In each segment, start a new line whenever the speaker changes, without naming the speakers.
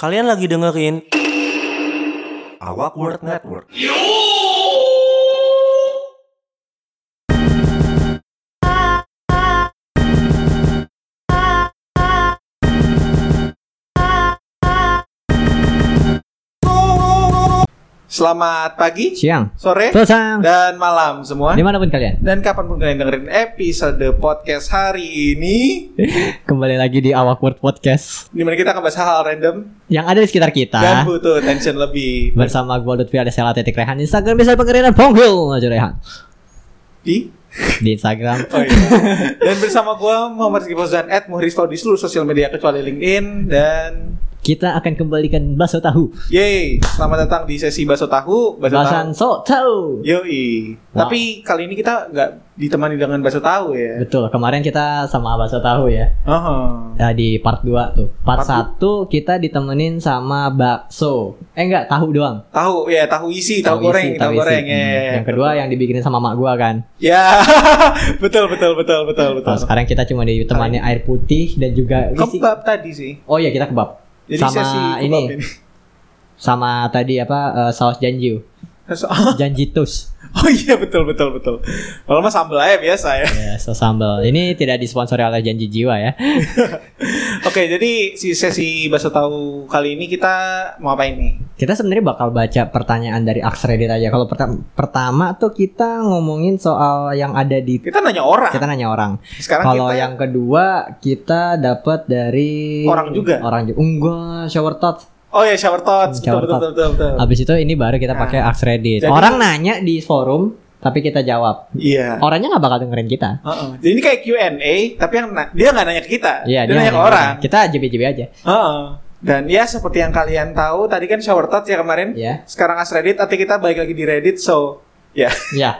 Kalian lagi dengerin
Awak Word Network.
Selamat pagi,
Siang.
sore,
Selesang.
dan malam semua.
Dimanapun kalian.
Dan kapanpun kalian dengerin episode podcast hari ini,
Kembali lagi di Awak Word Podcast.
dimana kita akan bahas hal-hal random
Yang ada di sekitar
dan
kita.
butuh tension lebih
Bersama gue Lutfi ada Sela Titik Rehan. Instagram bisa pengerinan Ponggul. Aja Rehan.
di.
Di Instagram.
Oh, iya. dan bersama gue Muhammad Rizky Fauzan at Muhriz Fauzi, di seluruh sosial media kecuali LinkedIn dan
Kita akan kembalikan Baso Tahu.
yay, selamat datang di sesi Baso Tahu, Baso Tahu.
Bahasan So Tahu.
Yoi.
Wow.
Tapi kali ini kita nggak ditemani dengan Baso Tahu ya.
Betul, kemarin kita sama Baso Tahu ya.
Oh.
Ya, Di part 2 tuh. Part,
Part
1 kita ditemenin sama bakso. Eh enggak, tahu doang.
Tahu ya, tahu isi, tahu, goreng,
isi,
tahu
isi.
goreng ya.
Hmm. Yang kedua yang dibikinin sama mak gua kan.
Ya, betul betul betul betul betul.
Nah, sekarang kita cuma ditemani air putih dan juga isi-
Kebab tadi sih.
Oh iya, kita kebab.
Jadi
sama
sesi kebab
ini, sama tadi apa eh, saus janjiu, janjitus,
Oh iya betul betul betul. Kalau mah sambel aja biasa ya.
ya, saus sambal. Ini tidak disponsori oleh Janji Jiwa ya.
Oke, jadi si sesi bakso tahu kali ini kita mau apa ini?
Kita sebenarnya bakal baca pertanyaan dari Aksredit aja. Kalau perta- pertama tuh kita ngomongin soal yang ada di
Kita nanya orang.
kita nanya orang.
Sekarang
Kalau
kita
yang kedua kita dapat dari
Orang juga?
Orang juga. Enggak, shower thoughts.
Oh ya shower thoughts.
Shower
betul, betul, betul betul betul.
Habis itu ini baru kita pakai
Nah.
Aksredit.
Jadi-
Orang nanya di forum tapi kita jawab.
Iya.
Orangnya nggak bakal dengerin kita.
Heeh. Jadi ini kayak Q&A, tapi yang na- dia nggak nanya ke kita,
Iya,
dia, nanya ke
nanya
orang.
Kita JBJB aja.
Heeh. Dan ya seperti yang kalian tahu, tadi kan shower thoughts ya kemarin.
Iya.
Sekarang as Reddit, nanti kita balik lagi di Reddit, so ya.
Iya.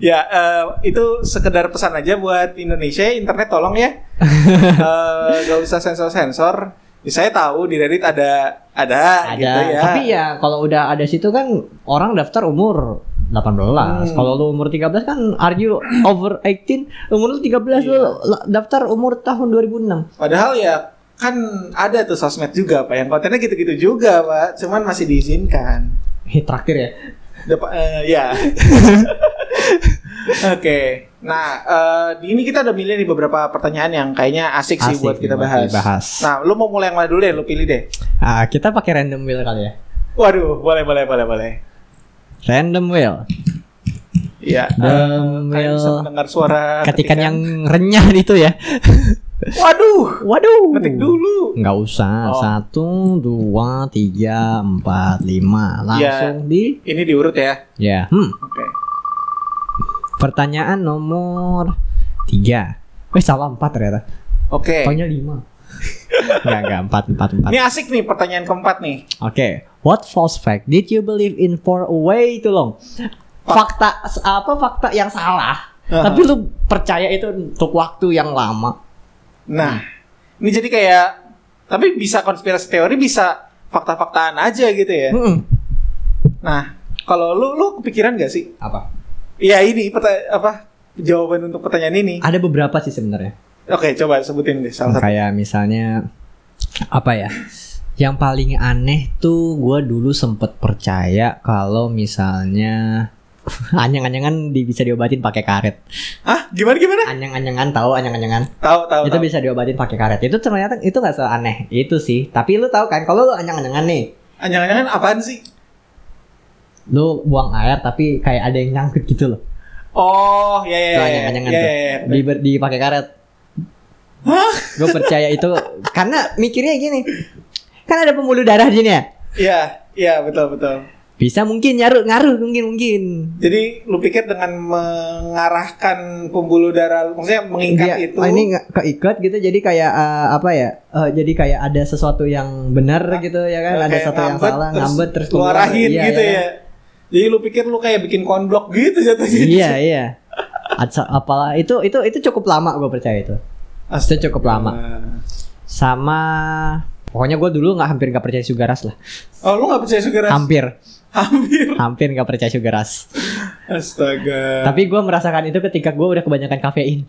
Ya, eh, itu sekedar pesan aja buat Indonesia, internet tolong ya. Eh, Gak usah sensor-sensor. Ya, saya tahu di Reddit ada ada,
ada.
gitu ya.
Tapi ya kalau udah ada situ kan orang daftar umur 18.
Hmm.
Kalau lu umur 13 kan are you over 18? Umur lu 13
Iya.
lu la- daftar umur tahun 2006.
Padahal ya kan ada tuh sosmed juga, Pak. Yang kontennya gitu-gitu juga, Pak. Cuman masih diizinkan.
Heh, traktir ya.
Dapat eh, ya. Oke. Nah, eh, di ini kita udah milih nih beberapa pertanyaan yang kayaknya asik, sih
Asik
buat
nih
kita
buat
bahas.
dibahas.
Nah, lu mau mulai yang mana dulu deh, lu pilih deh.
Ah, kita pakai random wheel kali ya.
Waduh, boleh boleh boleh boleh.
Random wheel.
Iya.
Random
Kalian
wheel.
bisa kan? mendengar suara
Ketikan yang renyah itu ya.
Waduh,
Waduh.
ngetik dulu.
Nggak usah.
Oh.
Satu, dua, tiga, empat,
Ya.
lima. Langsung di.
Ini diurut ya.
Ya. Hmm.
Oke.
Pertanyaan nomor 3 Wih salah 4 ternyata
Oke.
Pokoknya 5 Enggak, enggak, 4, 4, 4 Oke
Ini asik nih pertanyaan keempat nih.
What false fact did you believe in for way too long? Fakta, apa fakta yang salah
Uh-huh.
Tapi lu percaya itu untuk waktu yang lama
Nah,
Hmm.
ini jadi kayak tapi bisa konspirasi teori bisa fakta-faktaan aja gitu ya.
Mm-mm.
Nah, kalau lu lu kepikiran gak sih?
Apa?
Ya ini perta- apa jawaban untuk pertanyaan ini.
Ada beberapa sih sebenarnya
Oke, coba sebutin deh salah satu.
Kayak misalnya Apa ya Yang paling aneh tuh Gue dulu sempet percaya Kalau misalnya Anyang-anyangan di- bisa diobatin pakai karet
Ah, gimana gimana?
anyang-anyangan tahu anyang-anyangan
Tahu tahu.
itu
tahu.
bisa diobatin pakai karet itu ternyata itu nggak seaneh itu sih tapi lu tahu kan kalau lu anyang-anyangan nih
Anjangan-anjangan apaan sih?
lu buang air tapi kayak ada yang nyangkut gitu loh
Oh, ya ya
itu
ya.
anyang-anyangan
ya,
tuh
ya, ya.
di dipakai karet
Hah?
gue percaya itu karena mikirnya gini kan ada pembuluh darah di sini ya
Iya, iya betul betul.
bisa mungkin nyaru ngaruh mungkin mungkin
Jadi lu pikir dengan mengarahkan pembuluh darah, maksudnya mengikat
Dia-
itu,
oh, ini nggak keikat gitu jadi kayak eh, apa ya Eh, jadi kayak ada sesuatu yang benar gitu ya kan ada
Ah, kayak
satu yang salah ngambet terus
lu
keluar.
arahin
Iya,
gitu
iya.
ya. Jadi lu pikir lu kayak bikin konblok gitu jatuhnya.
iya iya Atsa- apalah itu itu itu cukup lama gue percaya itu
Astaga.
Itu cukup lama. sama pokoknya gue dulu nggak hampir nggak percaya sugar rush lah
Oh, lu gak percaya sugar rush?
hampir
Hampir.
hampir nggak percaya sugar rush
Astaga.
tapi gue merasakan itu ketika gue udah kebanyakan kafein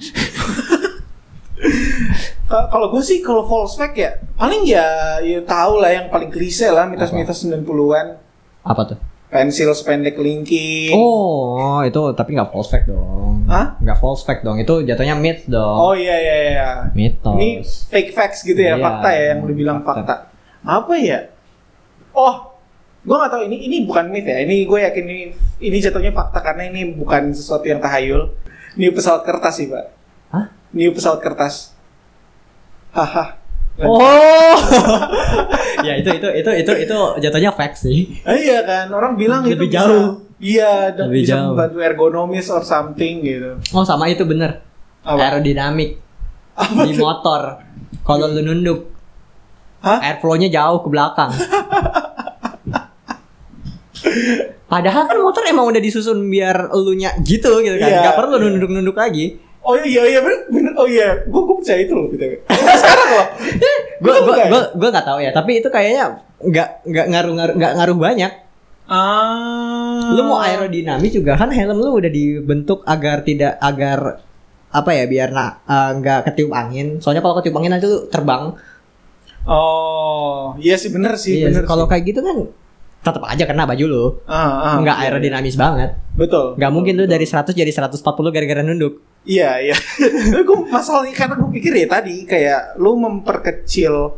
Ka- Kalau gue sih kalau false fact ya paling ya ya tahu lah yang paling klise lah mitos-mitos 90-an.
Apa tuh?
Pensil sependek kelingking.
Oh, itu tapi nggak false fact dong.
Hah?
Nggak false fact dong. Itu jatuhnya myth dong.
Oh iya iya iya.
Mitos.
Ini fake facts gitu ya,
Iya.
fakta ya yang dibilang fakta. Apa ya? Oh, gue gak tahu ini ini bukan myth ya. Ini gue yakin ini ini jatuhnya fakta karena ini bukan sesuatu yang tahayul. Ini pesawat kertas sih pak.
Hah?
Ini pesawat kertas. Haha.
Oh. ya itu itu itu itu itu jatuhnya fact sih.
Ah, iya kan orang bilang itu
Lebih
bisa-
jauh.
Iya, dan
Lebih
bisa
jauh.
membantu ergonomis or something gitu.
Oh sama itu bener. Er
Apa?
Aerodinamik
Apa
di
tuh?
motor. Kalau lu nunduk,
Hah?
airflow-nya jauh ke belakang. Padahal kan motor emang udah disusun biar elunya gitu gitu kan.
Iya.
Gak perlu nunduk-nunduk lagi.
Oh iya iya bener, bener. Oh iya, gue gue percaya itu loh. BTW. Sekarang loh.
Gue
Betul
gue
nggak ya?
gue gue nggak tahu ya. Tapi itu kayaknya nggak nggak ngaruh ngaruh nggak ngaruh banyak.
Ah.
lu mau aerodinamis juga kan helm lu udah dibentuk agar tidak agar apa ya biar na- eh, nggak ketiup angin soalnya kalau ketiup angin nanti lu terbang
Oh, iya sih bener sih, bener.
Iya, kalau
sih.
kayak gitu kan tetap aja kena baju lu
Ah, ah,
nggak
iya, iya.
aerodinamis banget
Betul.
nggak mungkin lu dari 100 jadi 140 gara-gara nunduk
Iya, iya. Tapi gue masalahnya karena gue pikir ya tadi kayak lu memperkecil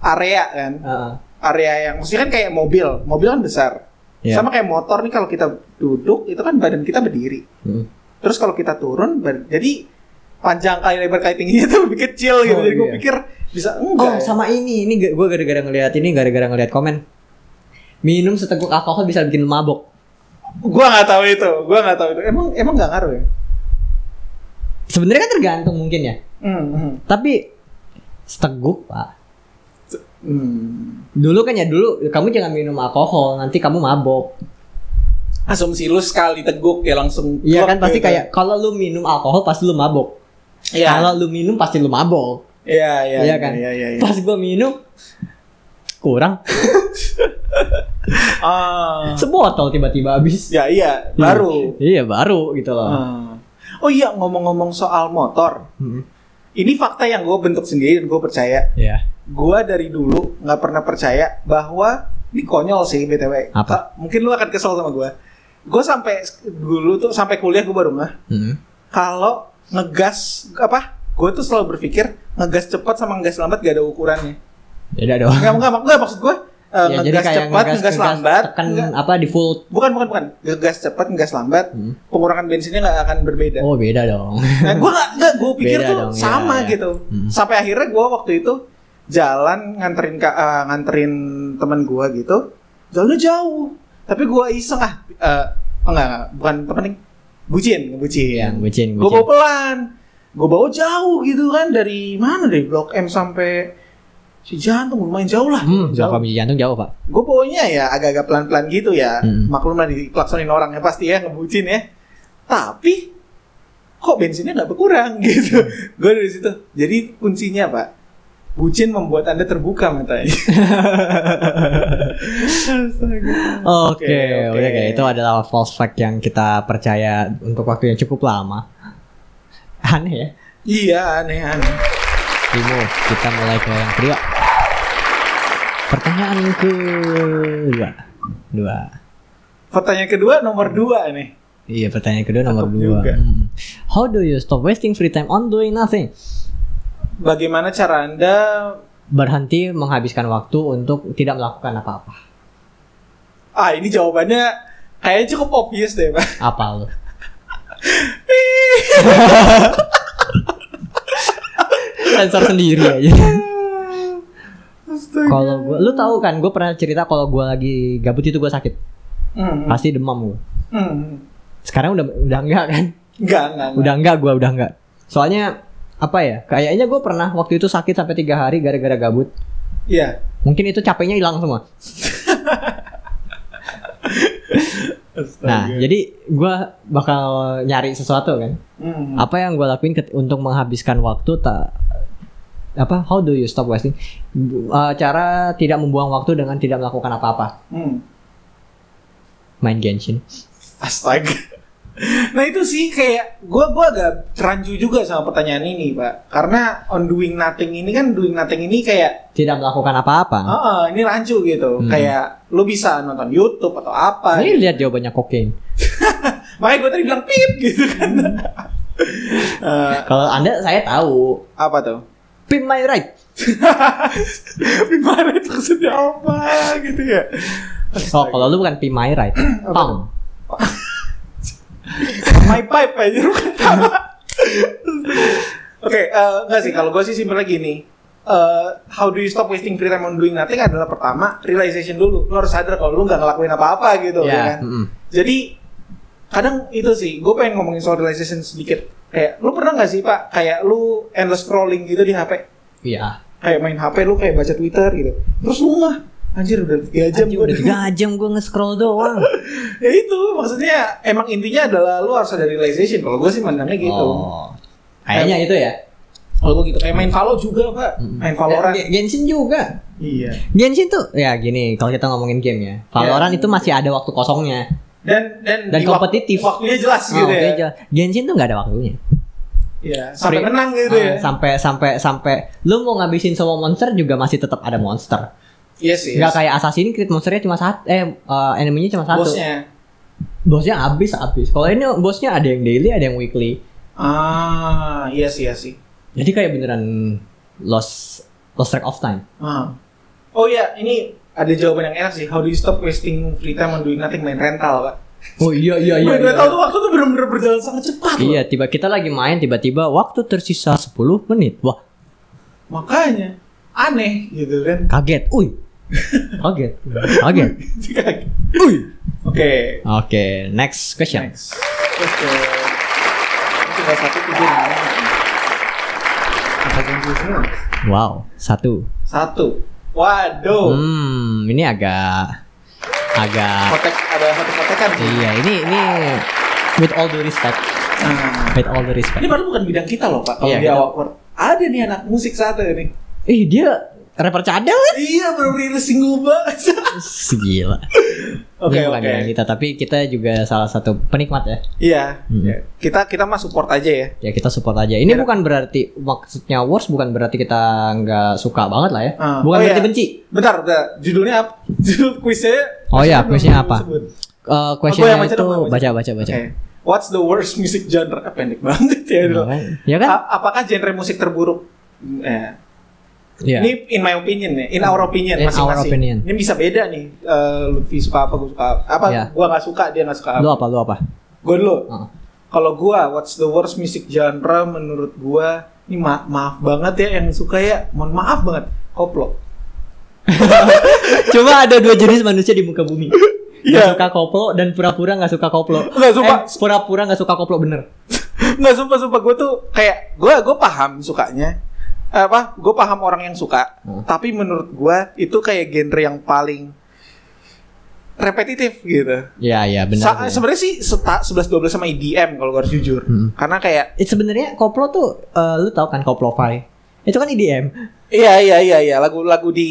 area kan. Area yang maksudnya kan kayak mobil, mobil kan besar.
Iya.
Sama kayak motor nih kalau kita duduk itu kan badan kita berdiri.
Mm.
Terus kalau kita turun bad- jadi panjang kali lebar kali tingginya itu lebih kecil gitu.
Oh,
jadi gue
iya.
pikir bisa
oh
enggak. ya?
sama ini ini gue gara-gara ngelihat ini gara-gara ngelihat komen minum seteguk alkohol bisa bikin lu mabok
Gua nggak tahu itu. Gua nggak tahu itu. Emang emang nggak ngaruh ya?
sebenarnya kan tergantung mungkin ya
Hmm, hmm.
tapi seteguk pak
hmm.
Dulu kan ya dulu kamu jangan minum alkohol nanti kamu mabok.
asumsi lu sekali teguk ya langsung
Iya
klop
kan pasti
gitu.
kayak kalau lu minum alkohol pasti lu mabok.
Iya.
Kalau lu minum pasti lu mabok.
iya iya
Iya kan?
iya iya iya.
Pas gua minum kurang
ah
sebotol tiba-tiba habis.
ya iya baru
Iya baru gitu loh.
Ah. oh iya ngomong-ngomong soal motor
Hmm,
ini fakta yang gue bentuk sendiri dan gue percaya
Iya.
gue dari dulu nggak pernah percaya bahwa ini konyol sih btw
Apa?
Ah, mungkin lu akan kesel sama gue gue sampai dulu tuh sampai kuliah gue baru ngeh
Hmm.
kalau ngegas apa gue tuh selalu berpikir ngegas cepat sama ngegas lambat gak ada ukurannya
Beda dong.
Enggak, enggak, enggak maksud gue eh,
Ya,
ngegas cepat, ngegas, lambat,
tekan
enggak.
apa di full.
bukan bukan bukan, ngegas cepat, ngegas lambat,
Hmm.
pengurangan bensinnya nggak akan berbeda.
Oh beda dong.
Nah, gue nggak, nggak, gue pikir
Beda
tuh
dong, ya,
sama
ya.
gitu.
Hmm.
Sampai akhirnya gue waktu itu jalan nganterin ka- eh, nganterin teman gue gitu, jalannya jauh, tapi gue iseng ah, eh, enggak, enggak, bukan temen nih, bucin, bucin.
Iya, bucin,
Gue
bucin.
bawa pelan, gue bawa jauh gitu kan dari mana dari Blok M sampai si jantung lumayan jauh lah.
Hmm,
jauh
kalau komisi jantung jauh, Pak.
gue bawanya ya agak-agak pelan-pelan gitu ya
Mm.
maklumlah dikelaksonin orang ya pasti ya ngebucin ya tapi kok bensinnya nggak berkurang gitu
Hmm.
gue dari situ jadi kuncinya pak bucin membuat anda terbuka matanya Astaga.
Oke,
Oke, oke.
udah kayak itu adalah false fact yang kita percaya untuk waktu yang cukup lama. Aneh ya.
iya aneh-aneh
Timo, kita mulai ke yang kedua. Pertanyaan kedua. Dua.
pertanyaan kedua nomor dua nih
Iya, pertanyaan kedua nomor
Cakep
dua.
juga.
Hmm. How do you stop wasting free time on doing nothing?
bagaimana cara anda
Berhenti menghabiskan waktu untuk tidak melakukan apa-apa.
ah ini jawabannya kayaknya cukup obvious deh pak
Apa lo? Sensor sendiri aja.
Astaga.
Kalau gua, lu tahu kan, gue pernah cerita kalau gua lagi gabut itu gua sakit,
Hmm,
pasti demam gua.
hmm.
Sekarang udah udah enggak kan?
Enggak, enggak, enggak.
udah enggak gua udah enggak soalnya apa ya kayaknya gue pernah waktu itu sakit sampai tiga hari gara-gara gabut
Iya.
mungkin itu capeknya hilang semua nah jadi gua bakal nyari sesuatu kan
Hmm.
apa yang gua lakuin ket- untuk menghabiskan waktu tak apa how do you stop wasting Bu- eh, cara tidak membuang waktu dengan tidak melakukan apa-apa
Hmm.
main Genshin
Astaga. Nah itu sih kayak gue gua agak teranju juga sama pertanyaan ini pak Karena on doing nothing ini kan doing nothing ini kayak
Tidak melakukan apa-apa.
"Ah, ah, ini rancu gitu
Hmm.
Kayak lu bisa nonton Youtube atau apa gitu.
Ini lihat jawabannya kokain.
Makanya gue tadi bilang pip gitu kan
Hmm.
Eh,
Kalau Anda saya tahu.
Apa tuh?
Pin my right.
Gimana itu maksudnya apa gitu ya
Oh, kalau lu bukan pin my right. Pang.
My pipe aja lu kan tahu. Oke, eh, enggak sih kalau gue sih simpel lagi nih. Eh, how do you stop wasting free time on doing nothing adalah pertama realization dulu. Lu harus sadar kalau lu nggak ngelakuin apa-apa gitu ya
Ya.
kan.
mm-mm.
Jadi kadang itu sih, gue pengen ngomongin soal realization sedikit. Kayak lu pernah nggak sih pak, kayak lu endless scrolling gitu di HP,
Iya.
kayak main HP lu kayak baca Twitter gitu. Terus lu mah anjir udah 3 jam
Anjing
gua
udah
udah-
tiga jam gue nge-scroll doang.
ya itu maksudnya emang intinya adalah lu harus ada realization kalau gue sih mandangnya gitu
Oh. Kayaknya itu ya.
kalau gue gitu kayak main Valo juga pak
Mm-mm.
main Valorant
Eh, Genshin juga.
iya
Genshin tuh ya gini kalau kita ngomongin game ya. Valorant itu masih ada waktu kosongnya.
dan dan,
Dan
di wak-
kompetitif.
waktunya jelas
Oh,
gitu
oke,
ya
jelas. Genshin tuh nggak ada waktunya.
Iya, sampai
Free-
menang gitu ya
Ah, sampai sampai sampai lu mau ngabisin semua monster juga masih tetap ada monster.
iya sih
Nggak kayak Assassin's Creed monsternya cuma satu eh uh, enemy-nya cuma satu.
bosnya
Bosnya habis habis. Kalau ini bosnya ada yang daily, ada yang weekly.
ah iya sih iya sih
Jadi kayak beneran lost lost track of time.
ah. oh iya ini ada jawaban yang enak sih how do you stop wasting free time on doing nothing main rental pak
Oh iya iya
main rental tuh waktu tuh bener-bener berjalan sangat cepat loh.
Iya, tiba kita lagi main tiba-tiba waktu tersisa 10 menit. Wah,
makanya aneh gitu kan
kaget. Uy. Kaget. Kaget.
Uy. Oke,
Oke, next question.
Next. Terus ke tinggal satu tiga namanya. Apa yang gue seneng?
Wow, satu.
Satu. Waduh.
Hmm, ini agak agak
Kotek ada satu kotekan.
iya, ini ini with all due respect,
Nah,
with all due
ini
respect.
baru bukan bidang kita loh pak. Kalau
Iya,
di
kita-
awak awkward. Ada nih anak musik satu nih.
Ih, dia rapper cadel kan?
iya baru rilis single banget.
Gila.
Oke
ini bukan
oke.
bidang kita, tapi kita juga salah satu penikmat ya.
Iya.
Hmm.
Ya, Kita kita mah support aja ya.
Ya kita support aja. Ini bukan berarti maksudnya worst bukan berarti kita nggak suka banget lah ya.
Ah, oh
bukan berarti
iya.
benci.
Bentar, bentar. Judulnya apa? Judul kuisnya.
Oh iya,
belum
kuisnya
belum
apa?
sebut.
Eh questionnya
Oh, yang baca
itu
dong, gua yang
baca baca baca.
Oke. What's the worst music genre? Eh, Pendek banget ya.
Ya
Dok.
kan? Ya kan?
A- apakah genre musik terburuk? Eh,
Iya.
Ini in my opinion ya, in our opinion
In our
masing-masing.
opinion.
Ini bisa beda nih. Eh, Lutfi suka apa, gue suka apa. Apa
Iya.
gua nggak suka, dia nggak suka
Lu
apa.
apa Ah. lu apa?
Gue dulu.
Heeh.
Kalau gua what's the worst music genre menurut gua ini ma- maaf banget ya yang suka ya, mohon maaf banget. Koplo.
Cuma ada dua jenis manusia di muka bumi.
Iya.
Gak suka koplo dan pura-pura gak suka koplo.
Nggak suka.
Eh, pura-pura gak suka koplo bener.
Nggak sumpah sumpah gue tuh kayak gua gue paham sukanya apa gue paham orang yang suka
Hmm.
tapi menurut gua itu kayak genre yang paling repetitif gitu
Iya iya bener.
Sa-
bener.
Sebenarnya sih seta 11 12 sama EDM kalau gue harus jujur.
Hmm.
Karena kayak
Eh, Sebenarnya koplo tuh eh, lu tau kan koplo-fi Itu kan IDM.
iya iya iya iya lagu-lagu di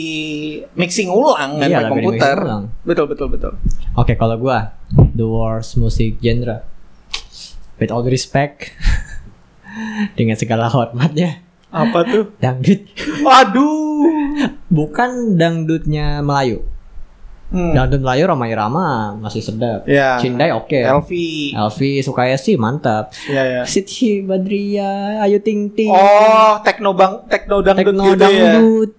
mixing ulang kan
Iya,
pakai
lagu di
komputer.
mixing ulang.
Betul betul betul.
Oke, kalau gua the worst music genre. With all due respect. Dengan segala hormatnya,
Apa tuh?
dangdut
Waduh.
bukan dangdutnya Melayu.
Hmm.
Dangdut Melayu Rama Irama masih sedap.
Ya.
Cindai oke.
Elvi.
Elvi Sukaya sih mantap.
Iya ya.
Siti Badria, Ayu Ting Ting.
Oh, techno bang techno dangdut
Tekno
gitu ya.
dangdut.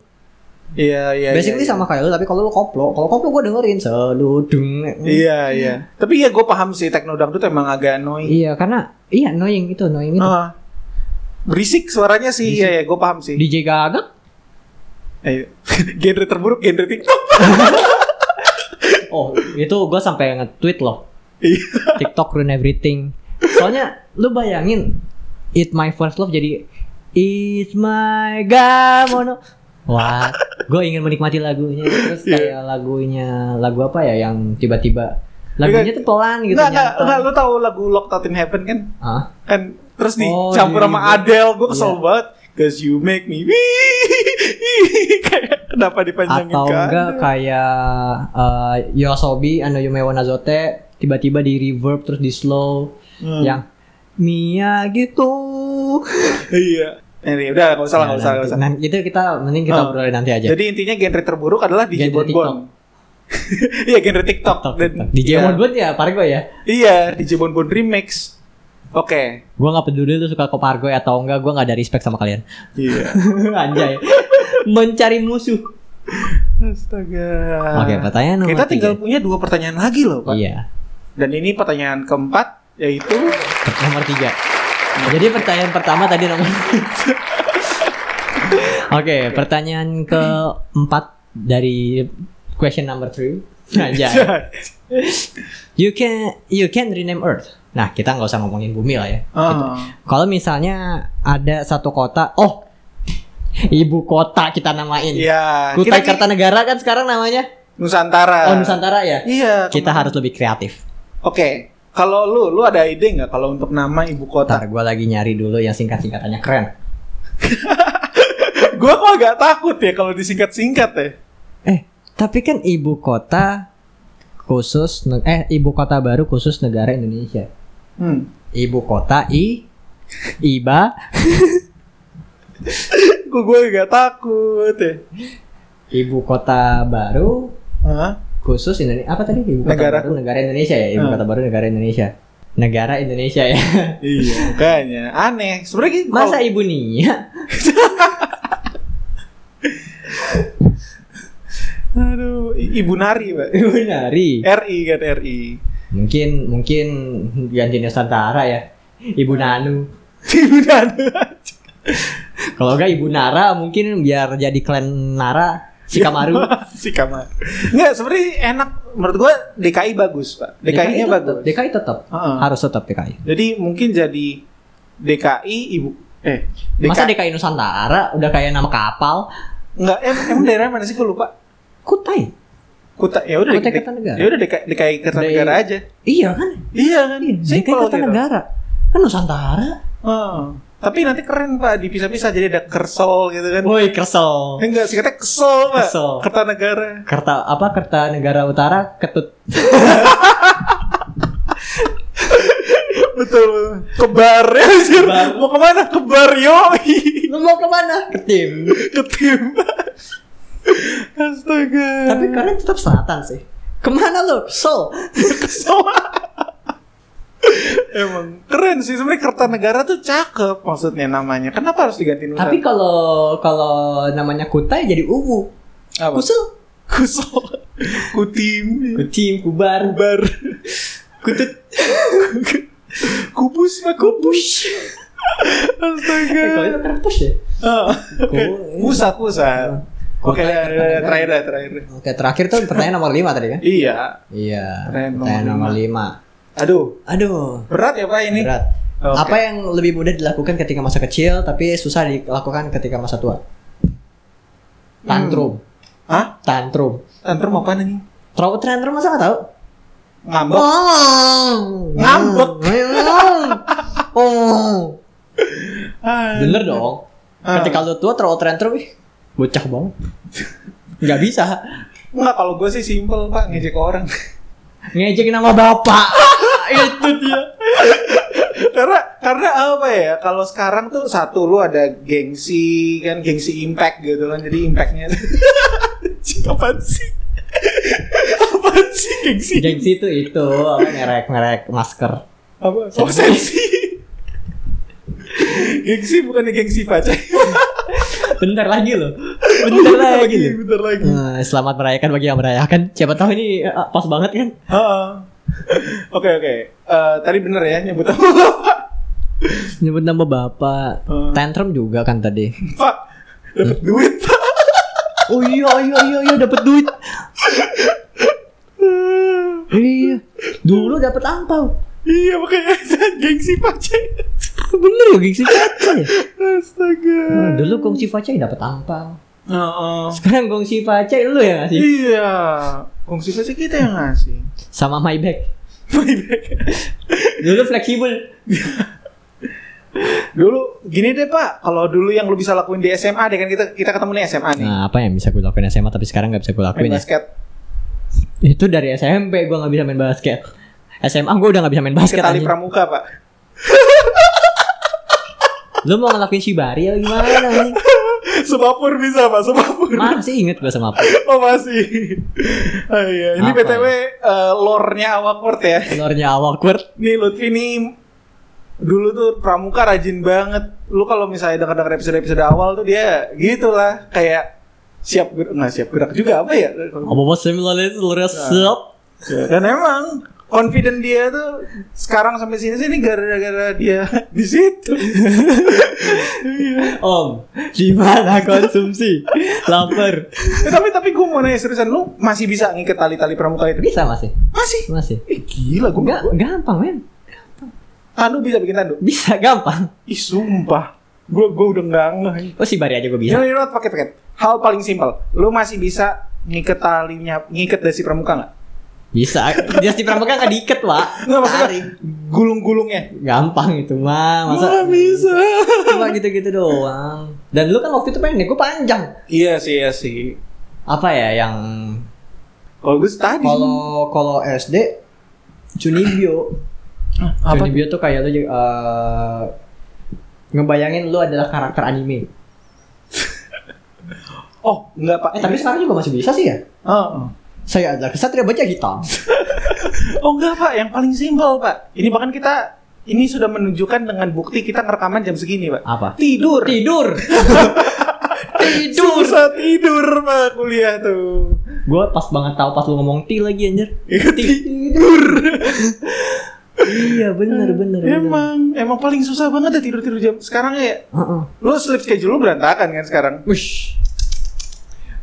Iya iya.
Basically
iya, iya.
sama kayak lu tapi kalau lu koplo, kalau koplo gue dengerin seludung.
Iya iya. Tapi ya gue paham sih techno dangdut emang agak annoying.
Iya, karena iya annoying itu, annoying itu.
Ah. berisik suaranya sih. Iya ya, gue paham sih.
DJ Gagak.
Eh, genre terburuk genre TikTok.
Oh, itu gue sampai nge-tweet loh.
Iya.
TikTok ruin everything. Soalnya lu bayangin It My First Love jadi It's My Gamono. Wah, gue ingin menikmati lagunya. Terus
Iya.
kayak lagunya lagu apa ya yang tiba-tiba lagunya tuh pelan gitu
Enggak, enggak,
nyantol.
enggak, lu tahu lagu Locked Out in Heaven kan?
Hah?
Kan terus
Oh,
dicampur
iya,
sama
iya.
Adele, gue kesel
Iya.
banget. Cause you make me Kayak kenapa dipanjangin
atau
ke
eh, enggak
Adele?
kayak uh, Yoasobi and You May Wanna Zote tiba-tiba di reverb terus di slow
Hmm.
yang Mia gitu.
Iya. Eh, udah nggak usah lah, nggak usah, nggak usah.
Nanti- Nah, itu kita mending kita
Oh.
obrolin nanti aja.
Jadi intinya genre terburuk adalah DJ
Genre
Bonbon. Iya genre TikTok.
TikTok,
Dan-
TikTok. Di
iya.
Jamon Bond ya, Pargo ya.
Iya DJ Bonbon remix. Oke.
Gue gak peduli lu suka ke Pargo atau enggak, gue gak ada respect sama kalian.
Iya.
Anjay. Mencari musuh.
Astaga.
Oke, pertanyaan
Ah,
nomor
Kita tinggal
tiga.
punya dua pertanyaan lagi loh pak.
Iya.
Dan ini pertanyaan keempat yaitu
Nomor tiga. Jadi pertanyaan pertama tadi nomor. Oke, pertanyaan keempat dari question number three. Anjay. You can you can rename Earth. Nah, kita nggak usah ngomongin bumi lah ya.
Ah.
Kalau misalnya ada satu kota, oh, ibu kota kita namain.
Iya.
Kutai Kartanegara kan sekarang namanya.
Nusantara.
Oh, Nusantara ya.
Iya.
Kita
kemarin.
harus lebih kreatif.
Oke. Kalau lu, lu ada ide nggak kalau untuk nama ibu kota?
Ntar gue lagi nyari dulu yang singkat-singkatannya keren.
Gua kok agak takut ya kalau disingkat-singkat ya.
Eh, tapi kan ibu kota khusus ne- eh ibu kota baru khusus negara Indonesia.
Hmm.
Ibu kota I Iba
Gue gue agak takut ya.
ibu kota baru
Hah?
khusus Indonesia apa tadi ibu kota
Negara
baru negara Indonesia ya ibu
Hmm.
kota baru negara Indonesia negara Indonesia ya
Iya, makanya aneh. Sebenarnya gini,
masa
kalau-
ibu Nia
aduh, I- Ibu Nari, Pak.
ibu Nari
RI kan RI.
mungkin mungkin ganti Nusantara ya ibu Nanu
Ibu Nari.
kalau enggak ibu Nara mungkin biar jadi klan Nara Sikamaru
si kamar. Enggak, sebenarnya enak menurut gua DKI bagus, Pak. DKI-nya
tetap,
bagus.
DKI tetap.
Heeh.
Harus tetap DKI.
Jadi mungkin jadi DKI Ibu eh
Masa
DKI
DKI Nusantara udah kayak nama kapal?
enggak em, emang daerah mana sih gua lupa.
Kutai.
Kuta ya udah
Kutai
DKI
Oh, Kertanegara.
Ya udah DKI, DKI Kertanegara
Dari-
aja.
Iya kan?
Iya kan?
DKI
Simple
kata
gitu.
negara. Kan Nusantara.
Heeh. Tapi nanti keren, Pak, dipisah-pisah jadi ada Kersel gitu kan.
Woi, kesel.
Eh, Enggak, singkatnya kesel, Pak.
Kesel.
Kertanegara.
Kerta apa kerta negara utara ketut
Betul. Kebar ya, anjir.
Kebar.
Mau kemana? Kebar yoi.
lu mau kemana ketim
Ketim. Astaga.
tapi kalian tetap selatan sih kemana lu so
kesel. Emang keren sih sebenarnya Kertanegara tuh cakep maksudnya namanya. Kenapa harus diganti Nusa?
tapi kalau kalau namanya kutai jadi uwu
Apa?
kusel
kusel. Kutim.
kutim kubar
Kubar. Kutut. Kubus mah kubus. Astaga.
Eh, kalau itu kerpus ya
Ah, oke.
Ku-
Pusat, pusat. Oke,
Kota-
dah, dah, dah, terakhir, dah, terakhir.
oke terakhir tuh pertanyaan nomor 5 tadi kan
Iya.
iya
Pertanyaan nomor
pertanyaan nomor
lima.
5
Aduh,
aduh
berat ya Pak ini. Oh,
Berat.
Oke.
Apa yang lebih mudah dilakukan ketika masa kecil tapi susah dilakukan ketika masa tua?
Hmm.
Tantrum.
Hah?
Tantrum.
Tantrum apa nih?
Trauma tantrum masa nggak tahu?
Ngambek. Ngambek.
Oh.
Ah.
Bener dong.
Ah.
Ketika lu tua trauma tantrum ih bocah banget. Nggak bisa.
Enggak, kalau gue sih simple Pak, ngejek orang.
Ngejek nama bapak. Itu dia.
karena karena apa ya? Kalau sekarang tuh satu lu ada gengsi kan, gengsi impact gitu kan. Jadi impactnya Apaan sih? Apaan sih gengsi?
Gengsi itu itu apa, merek-merek masker.
Apa? Oh, sensi. gengsi bukannya gengsi pacar.
Bentar lagi loh. Bentar lagi loh.
bentar lagi.
Eh, selamat merayakan bagi yang merayakan. Siapa tahu ini eh, pas banget kan?
Heeh. Oke oke. Eh, tadi bener ya nyebut apa?
Nyebut nama bapak.
Eh.
Tantrum juga kan tadi.
Pak, dapat duit Pak.
Oh iya iya iya iya dapat duit. iya. Dulu dapat angpau.
iya makanya gengsi pacai.
Bener ya gengsi Facai.
Astaga.
Hmm, Dulu Gongsi Facai dapat angpau.
Heeh.
Sekarang Gongsi Facai lu ya ngasih
Iya. Kongsi pacai kita yang ngasih.
sama my bag.
Playback.
Dulu fleksibel.
dulu gini deh Pak, kalau dulu yang lu bisa lakuin di SMA deh kan kita kita ketemu nih SMA nih.
Nah, apa yang bisa gue lakuin SMA tapi sekarang nggak bisa gue
main
lakuin ya?
basket.
Itu dari SMP gue nggak bisa main basket. SMA gue udah gak bisa main
Ke
basket
tali
anjing.
pramuka pak
Lu mau ngelakuin shibari ya gimana anjing?
Semapur bisa pak Semapur
Masih inget gue sama apa
Oh masih oh, iya. Ini
Apa
PTW eh, lore-nya awkward ya
Telurnya awkward
Nih Lutfi nih Dulu tuh pramuka rajin banget Lu kalau misalnya denger-denger episode-episode awal tuh dia gitulah Kayak siap gerak, nggak siap gerak juga apa ya
Apa-apa similarly telurnya sup
Dan emang confident dia tuh sekarang sampai sini sini gara-gara dia di situ.
Om, gimana konsumsi? Laper
Eh, tapi tapi gue mau nanya seriusan lu masih bisa ngikat tali-tali pramuka itu?
Bisa ya? masih,
Masih.
masih
Eh gila gue
Enggak, gampang men
Tandu bisa bikin tandu.
Bisa, gampang
Ih sumpah. Gue gue udah nggak ngeh.
Oh shibari aja gue
You know,
bisa
you know what, pakai pakai. Hal paling simpel. Lu masih bisa ngikat talinya, ngikat dasi pramuka nggak?
Bisa, dia si pramuka gak diiket pak
Nggak maksudnya
Tarik.
gulung-gulungnya.
Gampang itu mah
Nggak
Masa
bisa.
cuma gitu-gitu doang Dan lu kan waktu itu pendek, gue panjang
Iya sih, iya sih.
Apa ya yang
Kalau gue tadi.
Kalau kalau SD Cunibyo
Hah, Ah, apa?
Johnny Bio tuh kayak lu eh, ngebayangin lu adalah karakter anime.
Oh, enggak pak.
Eh tapi sekarang juga masih bisa sih ya.
Oh, oh.
Saya adalah kesatria baca hitam.
Oh enggak pak, yang paling simpel pak. Ini bahkan kita ini sudah menunjukkan dengan bukti kita ngerekaman jam segini pak.
Apa?
Tidur.
Tidur. Tidur.
Susah tidur pak kuliah tuh.
Gue pas banget tahu pas lu ngomong ti lagi anjir.
tidur.
Iya bener bener. bener.
emang emang paling susah banget ya tidur tidur jam sekarang ya.
Heeh.
Lu sleep schedule lu berantakan kan sekarang.
Wish.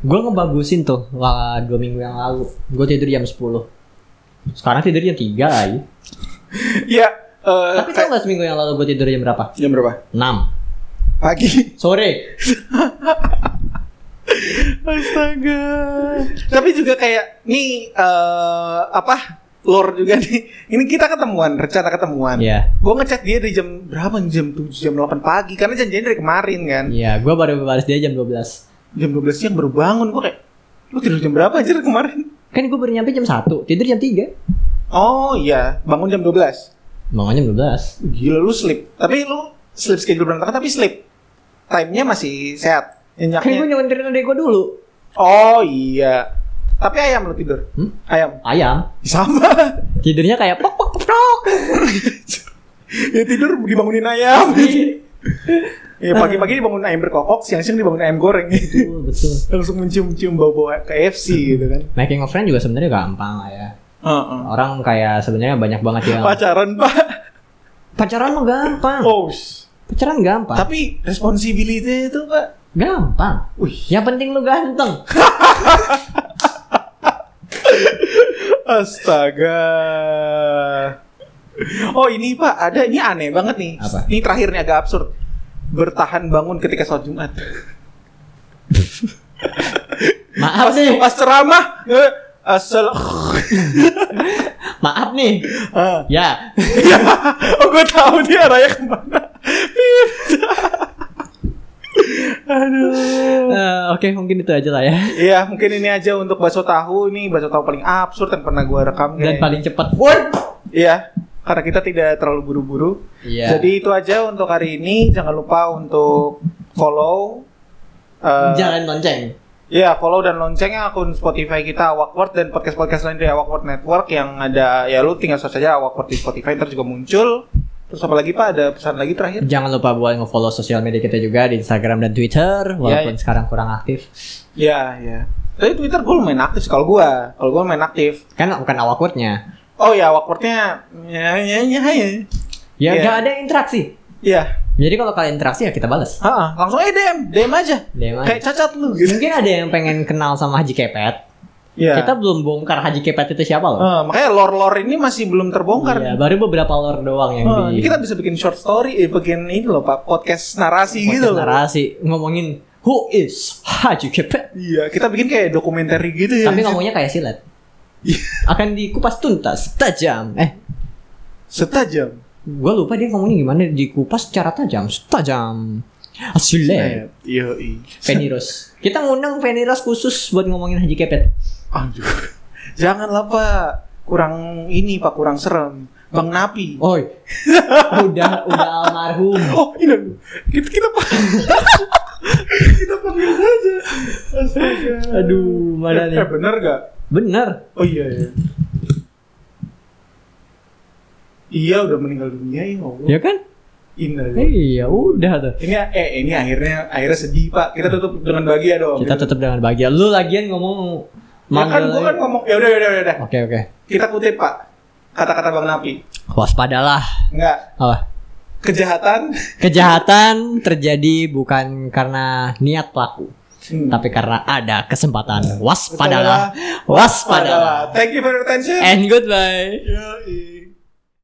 Gue ngebagusin tuh wah, dua minggu yang lalu. Gue tidur jam 10 Sekarang tidur jam 3 lagi.
Iya. eh,
Tapi tau
kayak-
gak seminggu yang lalu gue tidur jam berapa?
jam berapa?
6
Pagi.
Sore.
Astaga. Tapi juga kayak nih eh, apa? Lore juga nih. Ini kita ketemuan, rencana ketemuan.
Iya.
Gue ngechat dia dari jam berapa? Jam 7, jam 8 pagi Karena janjian dari kemarin kan
Iya, gue baru balas dia jam 12
Jam 12 siang baru bangun Gue kayak Lu tidur jam berapa aja kemarin?
Kan gue baru nyampe jam 1, tidur jam 3
Oh iya Bangun jam 12
Bangunnya jam 12
Gila lu sleep Tapi lu sleep schedule berantakan Tapi sleep Timenya masih sehat
Kan gue
Nyenyaknya
nyelenderin adek gue dulu
Oh iya Tapi ayam lu tidur
Hmm?
Ayam
Ayam
Sama
Tidurnya kayak pok pok pok
Ya tidur dibangunin ayam Ya pagi-pagi dibangun ayam berkokok Siang-siang dibangun ayam goreng
Betul, betul
Langsung mencium-cium bau-bau KFC gitu kan
Making of friend juga sebenarnya gampang lah ya
Heeh.
Orang kayak sebenarnya banyak banget yang
Pacaran pak
Pacaran mah gampang
Oh, sh-
Pacaran gampang
tapi responsibility itu pak.
Gampang
Wih,
Yang penting lu ganteng
astaga. Oh ini pak, ada ini aneh banget nih.
Apa?
Ini terakhir nih agak absurd. Bertahan bangun ketika sholat Jumat.
Maaf nih
Pas ceramah, eh, asal.
Maaf nih
Ah.
Ya
Ya, oh gue tahu dia arahnya kemana. Pip. Aduh.
Eh, Oke mungkin itu aja lah ya
Iya, mungkin ini aja untuk bakso tahu nih bakso tahu paling absurd yang pernah gue rekam. kayaknya.
Dan paling cepat Woi
Iya, karena kita tidak terlalu buru-buru.
Iya.
Jadi itu aja untuk hari ini. Jangan lupa untuk follow. eh,
Jangan lonceng
Iya, follow dan loncengnya akun Spotify kita Awakward dan podcast-podcast lain dari Awakward Network yang ada ya lu tinggal search aja Awakward di Spotify ntar juga muncul. Terus apa lagi Pak? Ada pesan lagi terakhir?
Jangan lupa buat nge-follow sosial media kita juga di Instagram dan Twitter walaupun
Iya, iya.
sekarang kurang aktif.
Iya, iya. Tapi Twitter gue lumayan aktif sih kalau gue. Kalau gue main aktif.
Kan bukan awkwardnya.
Oh ya, Awakwardnya ya ya ya. ya.
Ya
Iya.
nggak ada interaksi.
Iya.
Jadi kalau kalian interaksi ya kita balas.
Ha-ha, langsung eh DM, DM aja.
DM aja.
Kayak cacat lu gitu.
Mungkin ada yang pengen kenal sama Haji Kepet.
Iya.
Kita belum bongkar Haji Kepet itu siapa loh.
Eh, makanya lore-lore ini masih belum terbongkar.
Iya, baru beberapa lore doang yang
Eh,
di
kita bisa bikin short story, eh, bikin ini loh pak podcast narasi
podcast
gitu loh.
narasi ngomongin who is Haji Kepet.
Iya, kita bikin kayak dokumenter gitu ya.
Tapi ngomongnya kayak silat.
Iya.
Akan dikupas tuntas tajam. Eh,
setajam.
gua lupa dia ngomongnya gimana dikupas secara tajam, tajam. Silat.
Net. Iya, iya.
Feni Rose. Kita ngundang Feni Rose khusus buat ngomongin Haji Kepet.
Aduh. Janganlah pak. kurang ini pak kurang serem bang napi
Oi. udah udah almarhum.
oh ini dulu. kita kita kita panggil saja Astaga.
Aduh, mana
Eh,
nih?
eh, bener gak
Bener.
oh iya iya iya udah meninggal dunia ya Allah
Ya kan?
Indah. ya.
Iya, udah tuh.
ini eh ini akhirnya akhirnya sedih pak kita tutup dengan bahagia dong
Kita tetap dengan bahagia. Lu lagian ngomong
ya kan
manggil-
gua kan ngomong ya udah ya udah ya udah
Oke, oke.
kita kutip pak kata-kata bang napi
Waspadalah.
enggak
Apa?
kejahatan
Kejahatan terjadi bukan karena niat pelaku,
Hmm.
tapi karena ada kesempatan. Waspadalah. Waspadalah. Eh.
Thank you for your attention.
And goodbye.
Yoi.